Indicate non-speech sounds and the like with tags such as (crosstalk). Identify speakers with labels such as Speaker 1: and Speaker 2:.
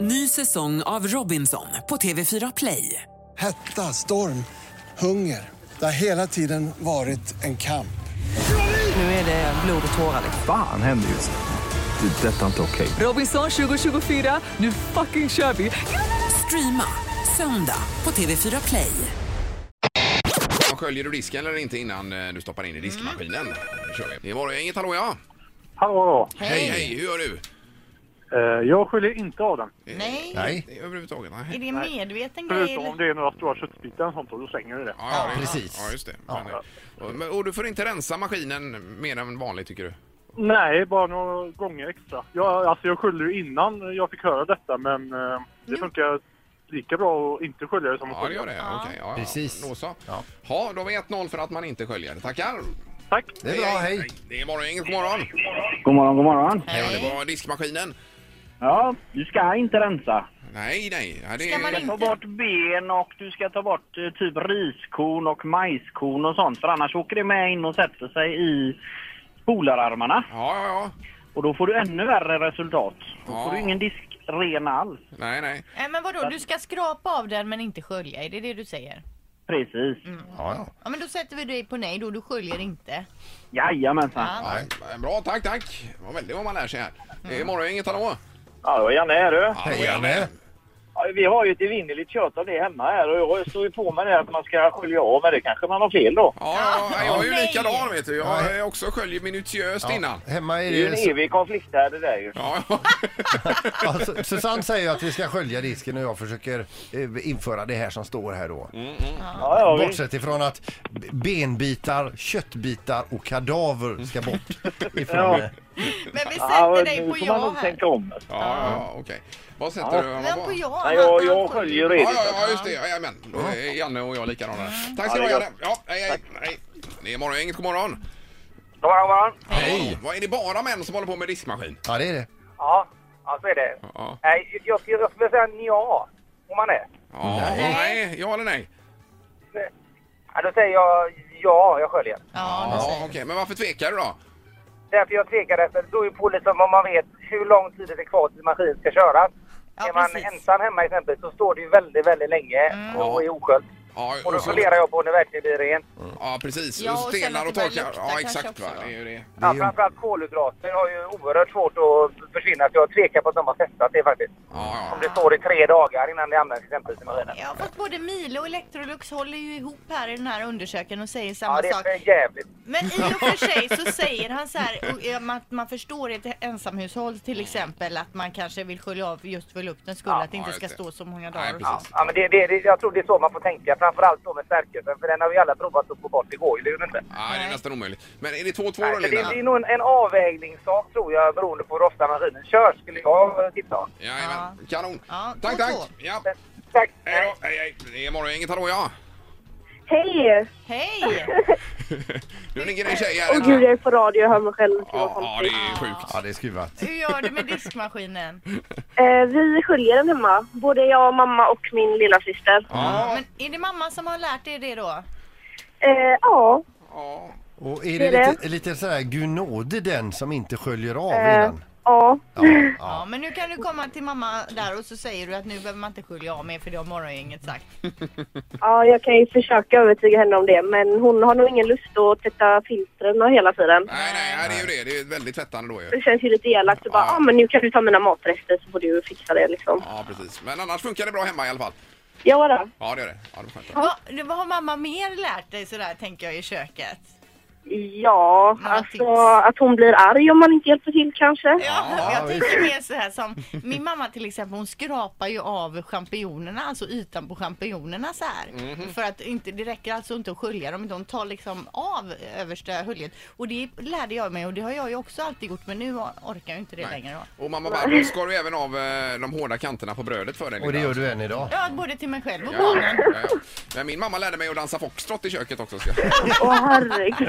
Speaker 1: Ny säsong av Robinson på TV4 Play.
Speaker 2: Hetta, storm, hunger. Det har hela tiden varit en kamp.
Speaker 1: Nu är det blod och tårar. liksom.
Speaker 3: Fan händer just nu. Det. är Detta är inte okej.
Speaker 1: Robinson 2024, nu fucking kör vi! Streama söndag på TV4 Play.
Speaker 4: Sköljer du disken eller inte innan eh, du stoppar in i diskmaskinen?
Speaker 5: Mm.
Speaker 4: Nu kör vi. Det var inget hallå ja.
Speaker 6: Hallå,
Speaker 4: Hej, hej, hur gör du?
Speaker 6: hallå. Eh, jag sköljer inte av den.
Speaker 5: Nej.
Speaker 7: Nej.
Speaker 4: Det är Överhuvudtaget,
Speaker 5: Är
Speaker 4: nej.
Speaker 5: det en medveten grej?
Speaker 6: Förutom om
Speaker 5: eller?
Speaker 6: det är några stora köttbitar och sånt och då slänger du det.
Speaker 4: Ja, ja, det-
Speaker 7: precis.
Speaker 4: Ja, just det. Men, eh, och, men- och du får inte rensa maskinen mer än vanligt tycker du?
Speaker 6: Nej, bara några gånger extra. Jag, alltså jag sköljde ju innan jag fick höra detta men eh,
Speaker 8: Mm.
Speaker 6: det funkar lika bra att inte skölja det som att
Speaker 4: Ja, det
Speaker 6: skölja.
Speaker 4: gör det. Ja. Okej, ja, ja.
Speaker 7: Precis.
Speaker 4: Då så. Ja.
Speaker 7: Ja.
Speaker 4: då har vi 1-0 för att man inte sköljer. Tackar!
Speaker 6: Tack!
Speaker 7: Det är bra, hej.
Speaker 4: Det är bara inget god morgon.
Speaker 8: God morgon, god morgon.
Speaker 4: Ja, det var diskmaskinen.
Speaker 8: Ja, du ska inte rensa.
Speaker 4: Nej, nej. Ja, det
Speaker 5: Ska man
Speaker 8: Du ska ta
Speaker 5: Inte.
Speaker 8: bort ben och du ska ta bort eh, typ riskorn och majskorn och sånt för annars åker det med in och sätter sig i spolararmarna
Speaker 4: Ja, ja, ja.
Speaker 8: och då får du ännu värre resultat. Då
Speaker 4: Ja.
Speaker 8: får du ingen disk ren alls.
Speaker 4: Nej, nej.
Speaker 5: Nej, men vadå, du ska skrapa av den men inte skölja, är det det du säger?
Speaker 8: Precis.
Speaker 7: Ja, ja.
Speaker 5: Ja, men då sätter vi dig på nej då, du sköljer inte.
Speaker 8: Jajamensan.
Speaker 5: Ja.
Speaker 4: Nej. Bra, tack, tack. Det var väldigt vad man lär sig här.
Speaker 5: Mm.
Speaker 4: Det är morgon inget hallå.
Speaker 8: Hallå, Janne här du.
Speaker 7: Hej, Janne.
Speaker 8: Ja, Vi har ju ett evinnerligt kött av det hemma här och jag står ju på med det att man ska skölja av men det kanske man har fel då.
Speaker 4: Ja, ja, ja, jag är ju
Speaker 5: Nej.
Speaker 4: likadan vet du. Jag
Speaker 7: Nej.
Speaker 4: eh, också sköljer minutiöst innan.
Speaker 7: Hemma är
Speaker 8: Det är ju
Speaker 7: det...
Speaker 8: en evig konflikt här det där ju.
Speaker 4: Ja,
Speaker 7: Ja, Su- alltså, Susanne säger ju att vi ska skölja disken och jag försöker eh, införa det här som står här då.
Speaker 8: Ja, ja, visst.
Speaker 7: Bortsett ifrån att b- benbitar, köttbitar och kadaver ska bort ifrån
Speaker 8: Ja.
Speaker 7: det.
Speaker 5: Men vi
Speaker 8: Ja,
Speaker 5: sätter dig
Speaker 8: nu
Speaker 5: på
Speaker 8: får man
Speaker 5: ja
Speaker 8: nog
Speaker 5: här.
Speaker 8: tänka om.
Speaker 4: ja, ja okej. Vad sätter du honom
Speaker 5: Men
Speaker 4: på?
Speaker 5: på ja,
Speaker 8: Nej,
Speaker 5: han-
Speaker 8: jag,
Speaker 5: han
Speaker 8: jag sköljer
Speaker 4: Ja,
Speaker 8: redigt.
Speaker 4: ja, ja, just det. Jajamän. Då är Janne och jag likadana. Tack ska
Speaker 8: Ja,
Speaker 4: du ha,
Speaker 8: det är
Speaker 4: Janne. Ja, hej, hej, hej. Det är morgongänget. God morgon.
Speaker 8: God morgon, god morgon.
Speaker 4: Ja, Vad är det bara män som håller på med diskmaskin?
Speaker 7: Ja, det är det.
Speaker 9: Ja, ja så är det.
Speaker 4: Ja.
Speaker 9: Nej, jag skulle jag skulle säga ja, om man är.
Speaker 4: Ja, nej.
Speaker 5: Nej.
Speaker 4: ja eller nej?
Speaker 9: Ja, då säger jag ja, jag sköljer.
Speaker 5: Ja, då
Speaker 4: Ja,
Speaker 5: säger
Speaker 4: okej. Men varför tvekar du då?
Speaker 9: Därför jag tvekar, därför det beror ju på liksom om man vet hur lång tid det är kvar tills maskinen ska köras.
Speaker 5: Ja,
Speaker 9: är man
Speaker 5: precis. Mm.
Speaker 9: ensam hemma exempelvis så står det ju väldigt, väldigt länge och är osköljd.
Speaker 4: Ja,
Speaker 9: Och då
Speaker 4: så-
Speaker 9: funderar jag på när verkligen blir rent.
Speaker 4: Ja, precis.
Speaker 5: Ja,
Speaker 4: Ja,
Speaker 5: och sen
Speaker 4: Stelnar
Speaker 5: att
Speaker 4: och
Speaker 5: det börjar
Speaker 4: torkar.
Speaker 5: lukta
Speaker 4: Ja,
Speaker 5: kanske
Speaker 4: exakt.
Speaker 5: också,
Speaker 4: Va?
Speaker 5: va?
Speaker 4: Det är ju det.
Speaker 9: Ja, framförallt kolhydrater har ju oerhört svårt att försvinna så jag tvekar på att de har testat det faktiskt.
Speaker 4: Ja,
Speaker 9: Om
Speaker 4: ja.
Speaker 9: det står i tre dagar innan det används exempelvis i maskinen.
Speaker 5: Ja, fast både Milo och Electrolux håller ju ihop här i den här undersökningen och säger
Speaker 9: Ja,
Speaker 5: samma
Speaker 9: det är
Speaker 5: sak.
Speaker 9: för jävligt.
Speaker 5: Men i och för sig så säger han så här och, eh, man, man förstår i ett ensamhushåll till exempel att man kanske vill skölja av just för luktens skull att det inte
Speaker 4: ja,
Speaker 5: ska
Speaker 4: just det.
Speaker 5: stå så många
Speaker 4: Nej,
Speaker 5: dagar. och så.
Speaker 4: precis.
Speaker 9: Ja, men det, det, det, jag tror det är så man får tänka, framförallt då med stärkelsen, för den har vi alla provat att få bort. Det går ju det gör det inte.
Speaker 4: Nej, det är
Speaker 5: Nej.
Speaker 4: nästan omöjligt. Men är det 2-2 då,
Speaker 9: Nej, så det,
Speaker 4: Linda?
Speaker 9: det är nog en, en avvägningssak tror jag, beroende på hur ofta maskinen körs, skulle jag eh, tipsa om.
Speaker 4: Jajamän. Kanon.
Speaker 5: Ja,
Speaker 4: Tack,
Speaker 5: 2-2.
Speaker 4: tack. Ja.
Speaker 9: Tack!
Speaker 4: Hej då. Hej, hej. Det är morgongänget. Hallå,
Speaker 10: (laughs)
Speaker 4: ja.
Speaker 10: Hej!
Speaker 5: Hej!
Speaker 4: Nu ligger det en tjej här.
Speaker 10: Åh gud, jag är på radio och hör mig själv.
Speaker 4: Ja, ja, det är sjukt.
Speaker 7: Ja, det är skruvat.
Speaker 5: Hur gör du med diskmaskinen?
Speaker 10: Eh, vi sköljer den hemma. Både jag, mamma och min lilla syster.
Speaker 4: Ja,
Speaker 5: Men är det mamma som har lärt dig det då?
Speaker 10: Eh, ja,
Speaker 4: ja.
Speaker 7: Och är
Speaker 10: Det är
Speaker 7: det lite, lite sådär gunådig den som inte sköljer av
Speaker 10: eh,
Speaker 7: innan?
Speaker 10: ja.
Speaker 7: Ja,
Speaker 5: Ja.
Speaker 7: ja.
Speaker 5: men nu kan du komma till mamma där och så säger du att nu behöver man inte skölja av mer för det har morgongänget sagt.
Speaker 10: (laughs) ja, jag kan ju försöka övertyga henne om det men hon har nog ingen lust att tvätta filtren och hela tiden.
Speaker 4: Nej, nej, nej, det är ju det. Det är väldigt tvättande då ju.
Speaker 10: Det känns ju lite elakt att bara ja ah, men nu kan du ta mina matrester så får du fixa det liksom.
Speaker 4: Ja, precis. Men annars funkar det bra hemma i alla fall.
Speaker 10: Ja då.
Speaker 4: Ja, det gör det. Ja, det är skönt.
Speaker 5: Va, det- vad har mamma mer lärt dig sådär tänker jag i köket?
Speaker 10: Ja,
Speaker 5: Några
Speaker 10: alltså
Speaker 5: tips?
Speaker 10: att hon blir arg om man inte hjälper till kanske.
Speaker 5: Ja, jag tänker mer så här som min mamma till exempel hon skrapar ju av champinjonerna, alltså ytan på champinjonerna så här. För att inte, det räcker alltså inte att skölja dem utan hon tar liksom av översta höljet. Och det lärde jag mig och det har jag ju också alltid gjort men nu orkar jag inte det längre då.
Speaker 4: Och mamma Barbro skar ju även av eh, de hårda kanterna på brödet för dig.
Speaker 7: Och det gör du än idag.
Speaker 5: Ja, både till mig själv och
Speaker 4: Ja,
Speaker 5: barnen.
Speaker 4: ja, ja. Men min mamma lärde mig att dansa foxtrot i köket också. Ska. jag-
Speaker 10: Åh herregud.